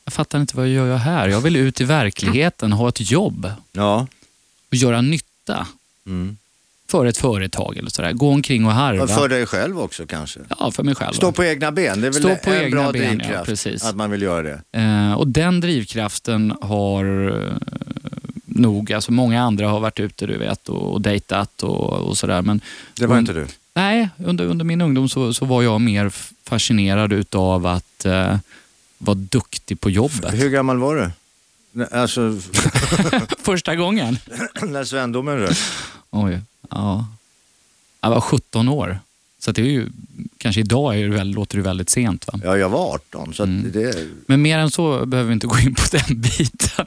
S3: Jag fattar inte, vad gör jag här? Jag vill ut i verkligheten, ha ett jobb
S2: Ja.
S3: och göra nytta
S2: Mm.
S3: för ett företag eller sådär. Gå omkring och harva.
S2: Och för dig själv också kanske?
S3: Ja, för mig själv.
S2: Stå på egna ben, det är väl
S3: Stå på
S2: en
S3: egna
S2: bra
S3: ben, ja,
S2: drivkraft
S3: precis.
S2: att man vill göra det.
S3: Eh, och den drivkraften har eh, nog, alltså många andra har varit ute du vet och, och dejtat och, och sådär. Men
S2: Det var inte du?
S3: nej, under, under min ungdom så, så var jag mer f- fascinerad utav att eh, vara duktig på jobbet.
S2: Hur gammal var du? N- Alltså,
S3: (laughs)
S2: (clears throat)
S3: Första gången.
S2: när svendomen rök?
S3: Oj, ja. Jag var 17 år. Så att det är ju, kanske idag är det, väl- låter det väldigt sent va?
S2: Ja, jag var 18. Så att
S3: Mm.
S2: det,
S3: Men mer än så behöver vi inte gå in på den (laughs) biten.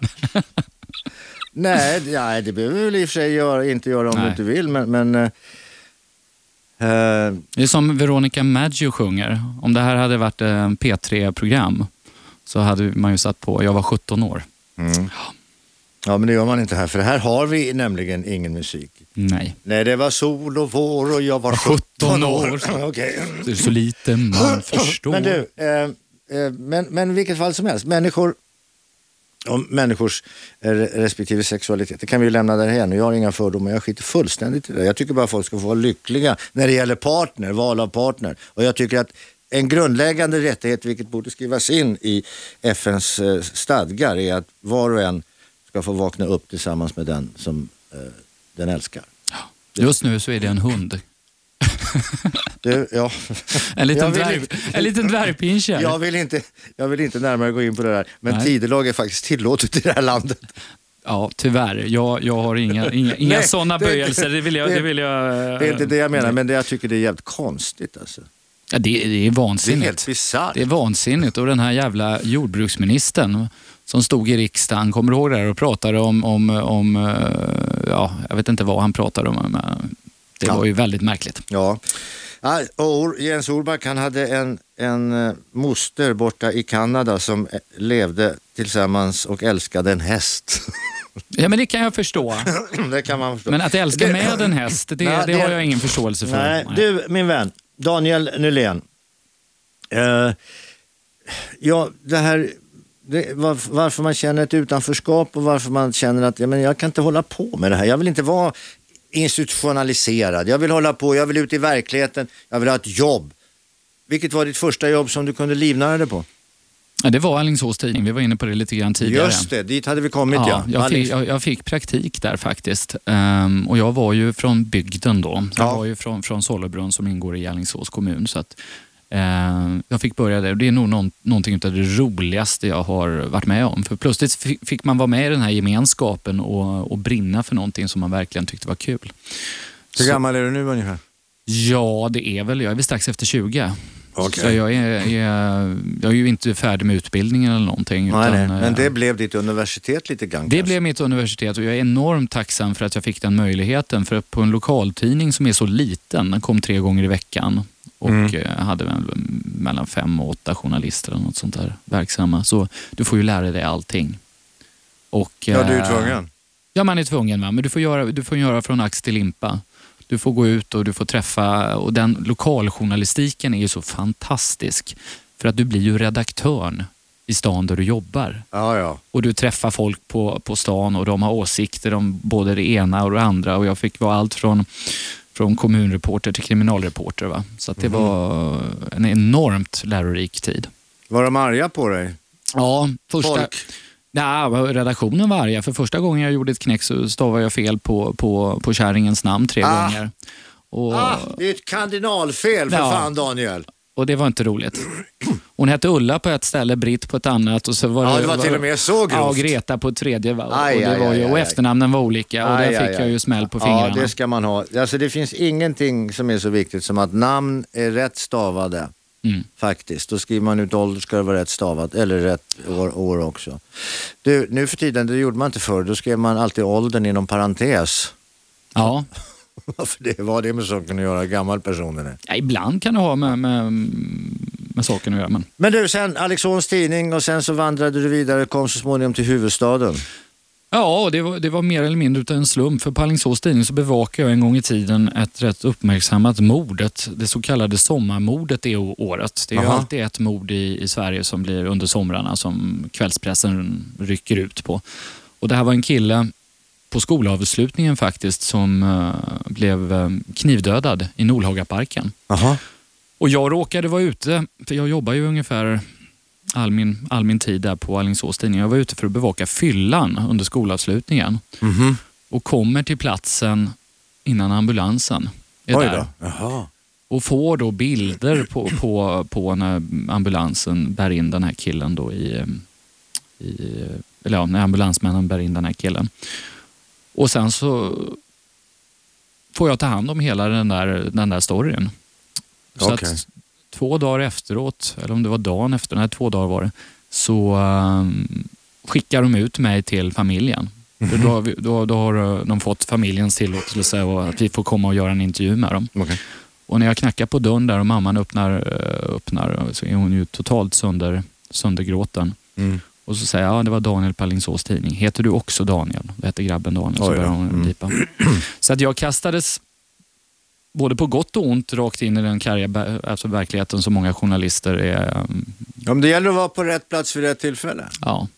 S2: nej, d- nej, det behöver vi väl i och för sig göra, inte göra om du
S3: Nej.
S2: inte vill, men... men eh, eh,
S3: Det är som Veronica Maggio sjunger. Om det här hade varit en P3-program så hade man ju satt på, jag var 17 år.
S2: mm. Ja, men det gör man inte här, för här har vi nämligen ingen musik.
S3: Nej,
S2: Nej, det var sol och vår och jag var 17
S3: 17
S2: år.
S3: år.
S2: Okej.
S3: det är så lite (laughs) man förstår.
S2: Men du, eh, eh, men, men i vilket fall som helst, människor och människors eh, respektive sexualitet, det kan vi ju lämna därhen. Jag har inga fördomar, jag skiter fullständigt i det. Jag tycker bara folk ska få vara lyckliga när det gäller partner, val av partner. Och jag tycker att en grundläggande rättighet, vilket borde skrivas in i FNs eh, stadgar, är att var och en ska få vakna upp tillsammans med den som eh, den älskar.
S3: Just nu så är det en hund.
S2: Du, ja.
S3: En liten,
S2: Jag vill
S3: dvärg,
S2: inte-
S3: en liten dvärgpincher.
S2: Jag vill, inte, jag vill inte närmare gå in på det där, men
S3: Nej.
S2: tidelag är faktiskt tillåtet i det här landet.
S3: Ja, tyvärr. Jag, jag har inga, inga, inga
S2: Nej,
S3: sådana
S2: det är inte-
S3: böjelser. Det vill jag...
S2: det är-
S3: Det, vill jag, eh,
S2: Det är inte det jag menar, men det, jag tycker det är jävligt konstigt. Alltså.
S3: Ja, det, det är
S2: Det är
S3: vansinnigt.
S2: helt bisarrt.
S3: Det är vansinnigt. Och den här jävla jordbruksministern som stod i riksdagen, kommer du ihåg det här, och pratade om, om, om eh, ja, jag vet inte vad han pratade om. Men det
S2: Ja.
S3: var ju väldigt märkligt.
S2: Ja. Ja, och Jens Orback han hade en, en eh, moster borta i Kanada som eh, levde tillsammans och älskade en häst. (laughs)
S3: Ja, men det kan jag förstå.
S2: det kan man förstå.
S3: Men att älska
S2: Det-
S3: med en häst, det,
S2: Nej,
S3: det
S2: det-
S3: har jag ingen förståelse för.
S2: Nej, du min vän, Daniel Nylén. Eh, ja, det här, det, varf- varför man känner ett utanförskap och varför man känner att ja, men jag kan inte hålla på med det här. Jag vill inte vara institutionaliserad. Jag vill hålla på, jag vill ut i verkligheten, jag vill ha ett jobb. Vilket var ditt första jobb som du kunde livnära dig på?
S3: Ja, det var Alingsås tidning, vi var inne på det lite grann tidigare.
S2: Just det, dit hade vi kommit ja. liksom.
S3: jag, fick, jag, jag fick praktik där faktiskt. Ehm, och jag var ju från bygden då. Jag
S2: Ja.
S3: var ju från, från Sollebrunn som ingår i Alingsås kommun. Så att, ehm, jag fick börja där och det är nog någon, någonting av det roligaste jag har varit med om. För plötsligt fi- fick man vara med i den här gemenskapen och, och brinna för någonting som man verkligen tyckte var kul.
S2: Hur gammal är du nu ungefär?
S3: Ja, det är väl. Jag är väl strax efter 20.
S2: Okej.
S3: Så jag är, är, jag är ju inte färdig med utbildningen eller någonting.
S2: Nej, nej.
S3: utan,
S2: Men
S3: eh,
S2: det blev ditt universitet lite grann
S3: det
S2: kanske.
S3: blev mitt universitet och jag är enormt tacksam för att jag fick den möjligheten. För att på en lokaltidning som är så liten, den kom tre gånger i veckan och
S2: Mm.
S3: eh, hade väl mellan fem och åtta journalister eller något sånt där verksamma. Så du får ju lära dig allting. Och,
S2: Ja, du är
S3: eh,
S2: tvungen.
S3: Ja, man är tvungen. Va? Men du får, göra, du får göra från ax till limpa. Du får gå ut och du får träffa... Och den lokaljournalistiken är ju så fantastisk. För att du blir ju redaktören i stan där du jobbar.
S2: Ja, ja.
S3: Och du träffar folk på, på stan och de har åsikter om både det ena och det andra. Och jag fick vara allt från, från kommunreporter till kriminalreporter. Va? Så att det
S2: Mhm.
S3: var en enormt lärorik tid.
S2: Var de arga på dig?
S3: Ja, första...
S2: Folk?
S3: Nej, redaktionen var arga. För första gången jag gjorde ett knäck så stavade jag fel på, på, på kärringens namn tre
S2: Ah.
S3: gånger. Och,
S2: Ah, det är ett kardinalfel för
S3: Ja.
S2: fan Daniel.
S3: och det var inte roligt. Hon hette Ulla på ett ställe, Britt på ett annat. Och så var
S2: Ja, det var till och med så
S3: Ja, och
S2: grovt.
S3: Greta på ett tredje. va? Och,
S2: Aj,
S3: och, det
S2: aj,
S3: var
S2: aj,
S3: ju, och
S2: aj, aj.
S3: efternamnen var olika och
S2: Aj,
S3: där
S2: aj,
S3: fick jag
S2: aj.
S3: ju smäll på
S2: Ja,
S3: fingrarna.
S2: det ska man ha. Alltså, det finns ingenting som är så viktigt som att namn är rätt stavade.
S3: Mm.
S2: Faktiskt. Då skriver man ut ålder ska det vara rätt stavat eller rätt år, år också. Du, nu för tiden, det gjorde man inte förr, då skrev man alltid åldern inom parentes. (laughs)
S3: ja.
S2: Varför det var det med saken att göra, hur gammal personen är.
S3: Ja, ibland kan det ha med, med, med saken att göra. Men.
S2: Men du, sen Alexons tidning och sen så vandrade du vidare och kom så småningom till huvudstaden.
S3: Ja, och det var, det var mer eller mindre utav en slump. För på Alingsås tidning så bevakade jag en gång i tiden ett rätt uppmärksammat mord. Ett, det så kallade sommarmordet det å- året. Det är ju
S2: Aha.
S3: alltid ett mord i, i Sverige som blir under somrarna som kvällspressen rycker ut på. Och det här var en kille på skolavslutningen faktiskt som eh, blev eh, knivdödad i Nolhagaparken.
S2: Jaha.
S3: Och jag råkade vara ute, för jag jobbar ju ungefär all min, all min tid där på Alingsås tidning. Jag var ute för att bevaka fyllan under skolavslutningen
S2: Mhm.
S3: och kommer till platsen innan ambulansen är
S2: Oj
S3: där.
S2: då. Jaha.
S3: Och får då bilder på, på, på när ambulansen bär in den här killen då i, i eller ja, när ambulansmännen bär in den här killen. Och sen så får jag ta hand om hela den där, den där storyn. Så
S2: Okej.
S3: att två dagar efteråt, eller om det var dagen efter, nej två dagar var det, så ehm, skickar de ut mig till familjen. För då, har vi, då, då har eh, de fått familjens tillåtelse och att vi får komma och göra en intervju med dem.
S2: Okej.
S3: Och när jag knackar på dörren där och mamman öppnar, eh, öppnar så är hon ju totalt sönder, söndergråten.
S2: Mm.
S3: Och så säger jag, ja det var Daniel på Alingsås tidning. Heter du också Daniel? Då heter grabben Daniel. Så
S2: Oj då.
S3: börjar hon
S2: Mm.
S3: pipa. Så att jag kastades både på gott och ont rakt in i den karga alltså verkligheten som många journalister är. mm,
S2: Ja, men det gäller att vara på rätt plats vid rätt tillfälle.
S3: Ja.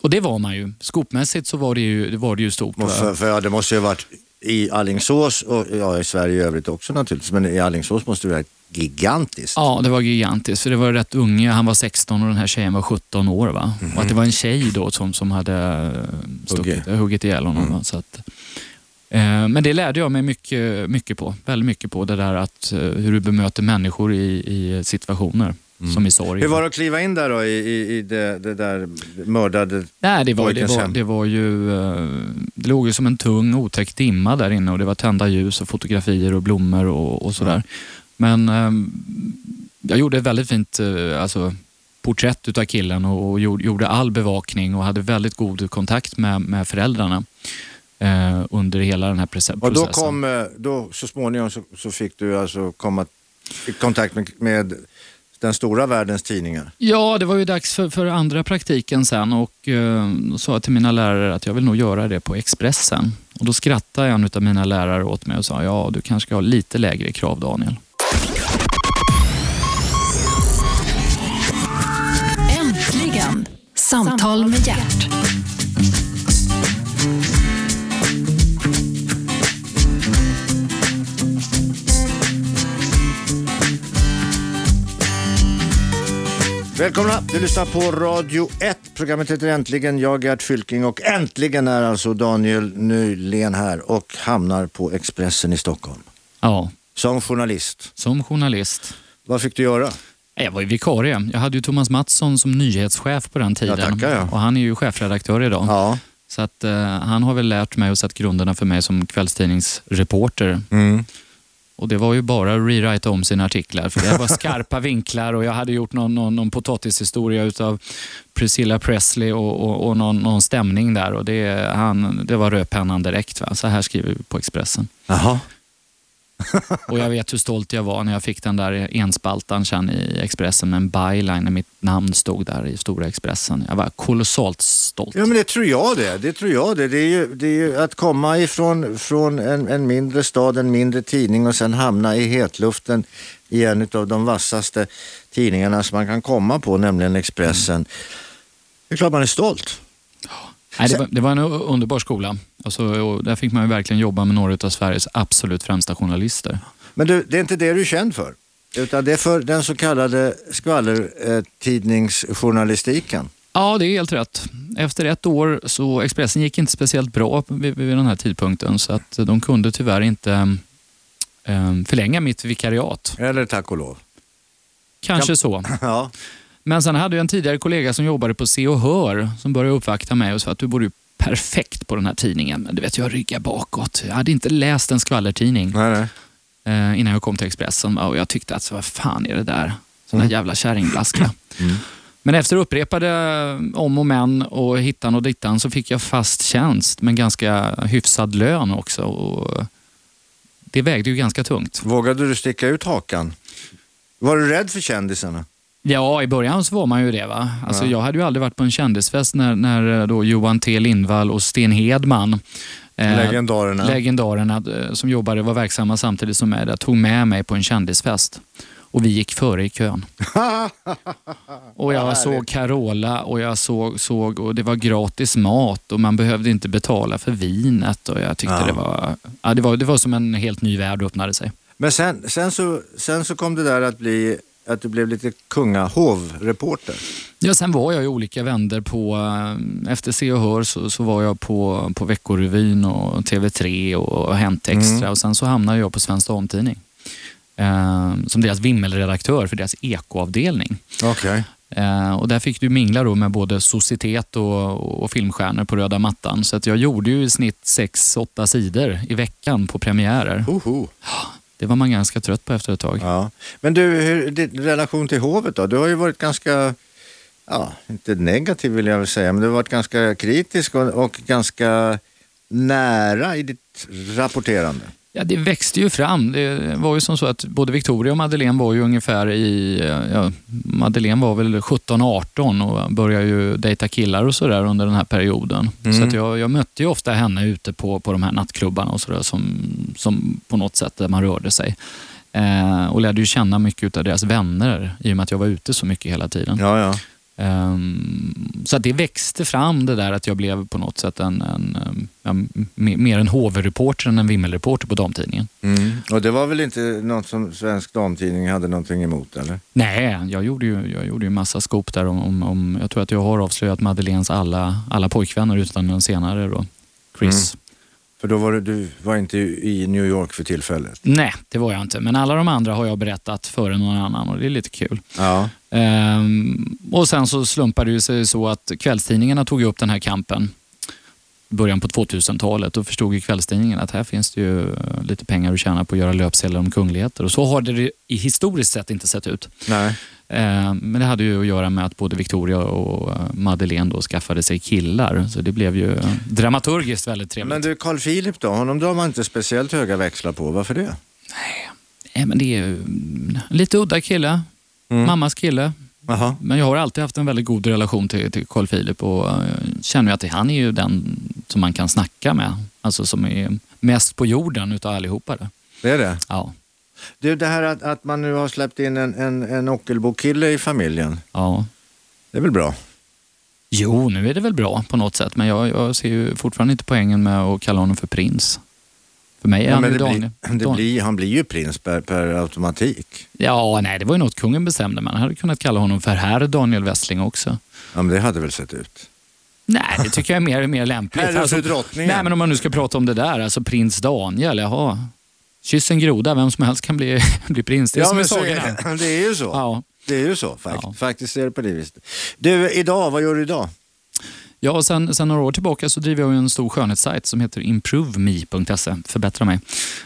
S3: Och det var man ju. Skopmässigt så var det ju, det var det ju stort.
S2: Och
S3: va?
S2: För, för, ja, det måste ju ha varit i Alingsås och ja, i Sverige i övrigt också naturligtvis, men i Alingsås måste det vara gigantiskt.
S3: Ja, det var gigantiskt. För det var rätt unga. Han var 16 och den här tjejen var 17 år. Va?
S2: Mhm.
S3: Och att det var en tjej då som, som hade eh, stuckit, huggit ihjäl honom.
S2: Mm.
S3: Va? Så att, eh, men det lärde jag mig mycket, mycket på. Väldigt mycket på det där att eh, hur du bemöter människor i, i situationer. Som i sorg.
S2: Mm. Hur var det att kliva in där då i, i, i det, det där mördade...
S3: Nej, det var, det
S2: Pojkens
S3: var,
S2: hem.
S3: det var ju... eh, Det låg ju som en tung otäck dimma där inne och det var tända ljus och fotografier och blommor och, och
S2: Mm.
S3: sådär. Men eh, jag gjorde ett väldigt fint eh, alltså, porträtt utav killen och, och gjorde- gjorde all bevakning och hade väldigt god kontakt med, med föräldrarna eh, under hela den här proce- processen.
S2: Och då kom, eh, då, så småningom så, så fick du alltså komma i kontakt med, med den stora världens tidningar.
S3: Ja, det var ju dags för, för andra praktiken sen och eh, då sa jag till mina lärare att jag vill nog göra det på Expressen. Och då skrattade en av mina lärare åt mig och sa ja, du kanske ska ha lite lägre krav Daniel.
S1: Äntligen! Samtal med hjärt.
S2: Välkomna! Du lyssnar på Radio 1. Programmet heter Äntligen. Jag är Gert Fylking och äntligen är alltså Daniel Nylén här och hamnar på Expressen i Stockholm.
S3: Ja,
S2: Som journalist.
S3: som journalist.
S2: Vad fick du göra?
S3: Jag var ju vikarie. Jag hade ju Thomas Mattsson som nyhetschef på den tiden.
S2: Ja, tackar, ja.
S3: Och han är ju chefredaktör idag.
S2: Ja.
S3: Så att, eh, han har väl lärt mig och satt grunderna för mig som kvällstidningsreporter.
S2: Mm.
S3: Och det var ju bara att rewrita om sina artiklar. För det var skarpa (laughs) vinklar och jag hade gjort någon, någon, någon potatishistoria utav Priscilla Presley och, och, och någon, någon stämning där. Och det, han, det var rödpennan direkt. Va? Så här skriver vi på Expressen.
S2: Jaha.
S3: Och jag vet hur stolt jag var när jag fick den där enspaltan sen i Expressen med en byline när mitt namn stod där i Stora Expressen. Jag var kolossalt stolt.
S2: Ja men det tror jag det. Det tror jag det. Det är ju, det är ju att komma ifrån från en, en mindre stad, en mindre tidning och sen hamna i hetluften i en av de vassaste tidningarna som man kan komma på, nämligen Expressen. Det är klart man är stolt.
S3: Nej, det, var, det var en u- underbar skola. Alltså, och där fick man ju verkligen jobba med några av Sveriges absolut främsta journalister.
S2: Men du, det är inte det du är känd för. Utan det är för den så kallade skvallertidningsjournalistiken.
S3: Ja, det är helt rätt. Efter ett år så Expressen gick inte speciellt bra vid, vid den här tidpunkten så att de kunde tyvärr inte eh, förlänga mitt vikariat.
S2: Eller tack och lov.
S3: Kanske så.
S2: Ja.
S3: Men sen hade jag en tidigare kollega som jobbade på Se och Hör som började uppvakta mig och sa att du borde ju perfekt på den här tidningen. Men du vet, jag ryggar bakåt. Jag hade inte läst en skvallertidning
S2: Nej, nej.
S3: eh, innan jag kom till Expressen och jag tyckte att så, vad fan är det där? Sån där jävla kärringblaska. Men efter upprepade eh, om och men och hittan och dittan så fick jag fast tjänst men ganska hyfsad lön också. Och det vägde ju ganska tungt.
S2: Vågade du sticka ut hakan? Var du rädd för kändisarna?
S3: Ja, i början så var man ju det. va. Alltså, Jag hade ju aldrig varit på en kändisfest när, när eh, då Johan T Lindvall och Sten Hedman, eh,
S2: Legendarerna.
S3: legendarerna eh, som jobbade var verksamma samtidigt som jag, där, tog med mig på en kändisfest. Och vi gick före i
S2: (laughs)
S3: kön. och jag såg Carola och jag såg, såg och det var gratis mat och man behövde inte betala för vinet. Och jag tyckte
S2: Ja.
S3: det, var, ja, det, var, det var som en helt ny värld öppnade sig.
S2: Men sen, sen, så, sen så kom det där att bli att du blev lite kungahovreporter.
S3: Ja, sen var jag i olika vänder på, eh, efter Se och Hör så, så var jag på, på Veckorevyn och TV3 och Hänt Extra och sen så hamnade jag på Svensk Damtidning. Eh, som deras vimmelredaktör för deras ekoavdelning.
S2: Okej.
S3: Eh, och där fick du mingla då med både societet och, och filmstjärnor på röda mattan. Så att jag gjorde ju i snitt 6-8 sidor i veckan på premiärer.
S2: Hoho.
S3: Det var man ganska trött på efter ett tag.
S2: Ja. Men du, hur, din relation till hovet då? Du har ju varit ganska, ja, inte negativ vill jag väl säga, men du har varit ganska kritisk och, och ganska nära i ditt rapporterande.
S3: Ja, det växte ju fram. Det var ju som så att både Victoria och Madeleine var ju ungefär i... Ja, Madeleine var väl 17-18 och började ju dejta killar och sådär under den här perioden. Så att jag, jag mötte ju ofta henne ute på, på de här nattklubbarna och sådär som, som på något sätt där man rörde sig. Eh, och lärde ju känna mycket av deras vänner i och med att jag var ute så mycket hela tiden.
S2: Ja, ja.
S3: Ehm, så att det växte fram det där att jag blev på något sätt en, en, ehm, ja, m- mer en HV-reporter än en vimmelreporter på damtidningen.
S2: Och det var väl inte något som Svensk Damtidning hade någonting emot eller?
S3: Nej, jag gjorde ju, jag gjorde ju massa skop där om, om, om, jag tror att jag har avslöjat Madeleines alla, alla pojkvänner utan den senare då, Chris.
S2: För då var du, du var inte i New York för tillfället.
S3: Nej, det var jag inte. Men alla de andra har jag berättat före någon annan och det är lite kul.
S2: Ja.
S3: Ehm, och sen så slumpade det ju sig så att kvällstidningarna tog ju upp den här kampen i början på 2000-talet. Då förstod ju kvällstidningen att här finns det ju eh, lite pengar att tjäna på att göra löpsedlar om kungligheter. Och så har det ju i historiskt sett inte sett ut.
S2: Nej.
S3: Eh, Men det hade ju att göra med att både Victoria och eh, Madeleine då skaffade sig killar. Så det blev ju eh, dramaturgiskt väldigt trevligt.
S2: Men du, Carl Philip då? Honom drar man inte speciellt höga växlar på. Varför det?
S3: Nej, Eh, men det är ju mm, lite udda kille.
S2: Mm.
S3: Mammas kille.
S2: Aha.
S3: Men jag har alltid haft en väldigt god relation till, till Carl Philip och eh, känner ju att han är ju den som man kan snacka med. Alltså som är mest på jorden utav allihopa. Där.
S2: Det är det.
S3: Ja,
S2: Du, det här att, att man nu har släppt in en, en, en Ockelbo-kille i familjen.
S3: ja.
S2: Det är väl bra?
S3: Jo, nu är det väl bra på något sätt, men jag, jag ser ju fortfarande inte poängen med att kalla honom för prins. För mig är
S2: Ja,
S3: han
S2: men
S3: ju
S2: det
S3: Daniel.
S2: blir, det
S3: Dan-
S2: blir, han blir ju prins per, per automatik.
S3: Ja, nej, det var ju något kungen bestämde. Man hade kunnat kalla honom för herr Daniel Wessling också.
S2: Ja, men det hade väl sett ut.
S3: Nej, det tycker jag är mer, mer lämpligt. Alltså,
S2: Herre för drottningen.
S3: nej, men om man nu ska prata om det där, alltså prins Daniel, jaha. Kyss en groda, vem som helst kan bli, (laughs) bli prins. Det är
S2: ja,
S3: som i
S2: men så,
S3: sagorna.
S2: det är ju så.
S3: Ja.
S2: Det är ju så fakt,
S3: Ja.
S2: faktiskt. är det på det viset. Du, idag, vad gör du idag?
S3: Ja, och sen, sen några år tillbaka så driver jag ju en stor skönhetssajt som heter improveme.se, förbättra mig.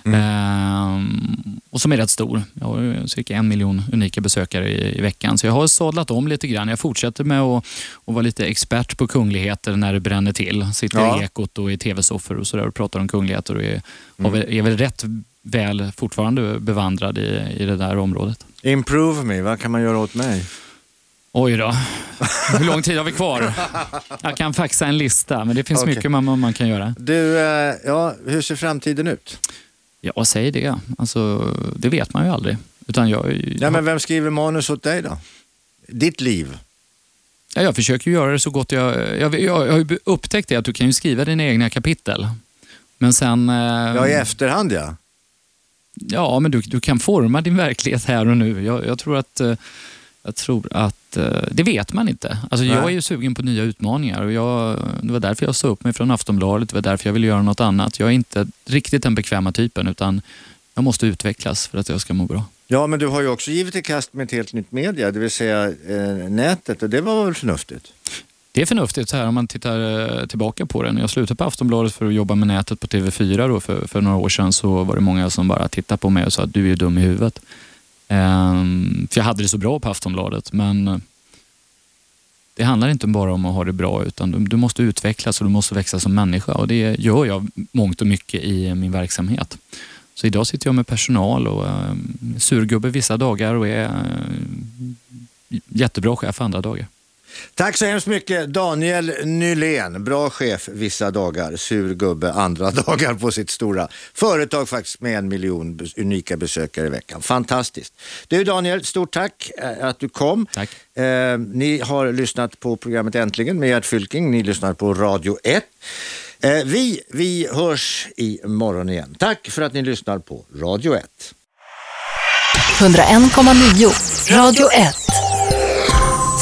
S2: Mm.
S3: Ehm, och som är rätt stor. Jag har ju cirka en miljon unika besökare i, i veckan. Så jag har sadlat om lite grann. Jag fortsätter med att, att vara lite expert på kungligheter när det bränner till. Sitter
S2: Ja.
S3: i Ekot och i tv-soffor och sådär och pratar om kungligheter och är,
S2: Mm.
S3: har väl, är väl rätt väl fortfarande bevandrad i, i det där området.
S2: Improve me, vad kan man göra åt mig?
S3: Oj då, hur lång tid har vi kvar? Jag kan faxa en lista, men det finns
S2: Okej.
S3: mycket man, man kan göra.
S2: Du, eh, ja, hur ser framtiden ut?
S3: Ja, säg det. Alltså, det vet man ju aldrig. Utan jag,
S2: Ja, men vem skriver manus åt dig då? Ditt liv.
S3: ja, jag försöker ju göra det så gott jag... Jag, jag, jag har ju upptäckt det att du kan ju skriva dina egna kapitel. Men sen... eh,
S2: Ja, i efterhand ja.
S3: ja, men du, du kan forma din verklighet här och nu. Jag, jag tror att... eh, Jag tror att eh, det vet man inte. Alltså,
S2: Nej.
S3: jag är ju sugen på nya utmaningar. Och jag, det var därför jag sa upp mig från Aftonbladet. Det var därför jag ville göra något annat. Jag är inte riktigt den bekväma typen utan jag måste utvecklas för att jag ska må bra.
S2: Ja, men du har ju också givit i kast med ett helt nytt media, det vill säga eh, nätet och det var väl förnuftigt?
S3: Det är förnuftigt så här om man tittar eh, tillbaka på det. När jag slutade på Aftonbladet för att jobba med nätet på TV4 då, för, för några år sedan så var det många som bara tittade på mig och sa att du är ju dum i huvudet. Ehm, för jag hade det så bra på Aftonbladet men eh, det handlar inte bara om att ha det bra utan du, du måste utvecklas och du måste växa som människa och det gör jag mångt och mycket i min verksamhet. Så idag sitter jag med personal och eh, surgubbe vissa dagar och är eh, jättebra chef andra dagar.
S2: Tack så hemskt mycket Daniel Nylén, bra chef vissa dagar, sur gubbe andra (laughs) dagar på sitt stora företag faktiskt med en miljon bes- unika besökare i veckan. Fantastiskt. Du Daniel, stort tack eh, att du kom.
S3: Tack.
S2: Eh, ni har lyssnat på programmet Äntligen med Gert Fylking, ni lyssnar på Radio 1. Eh, vi, vi hörs imorgon igen. Tack för att ni lyssnar på Radio 1.
S1: 101,9 Radio 1.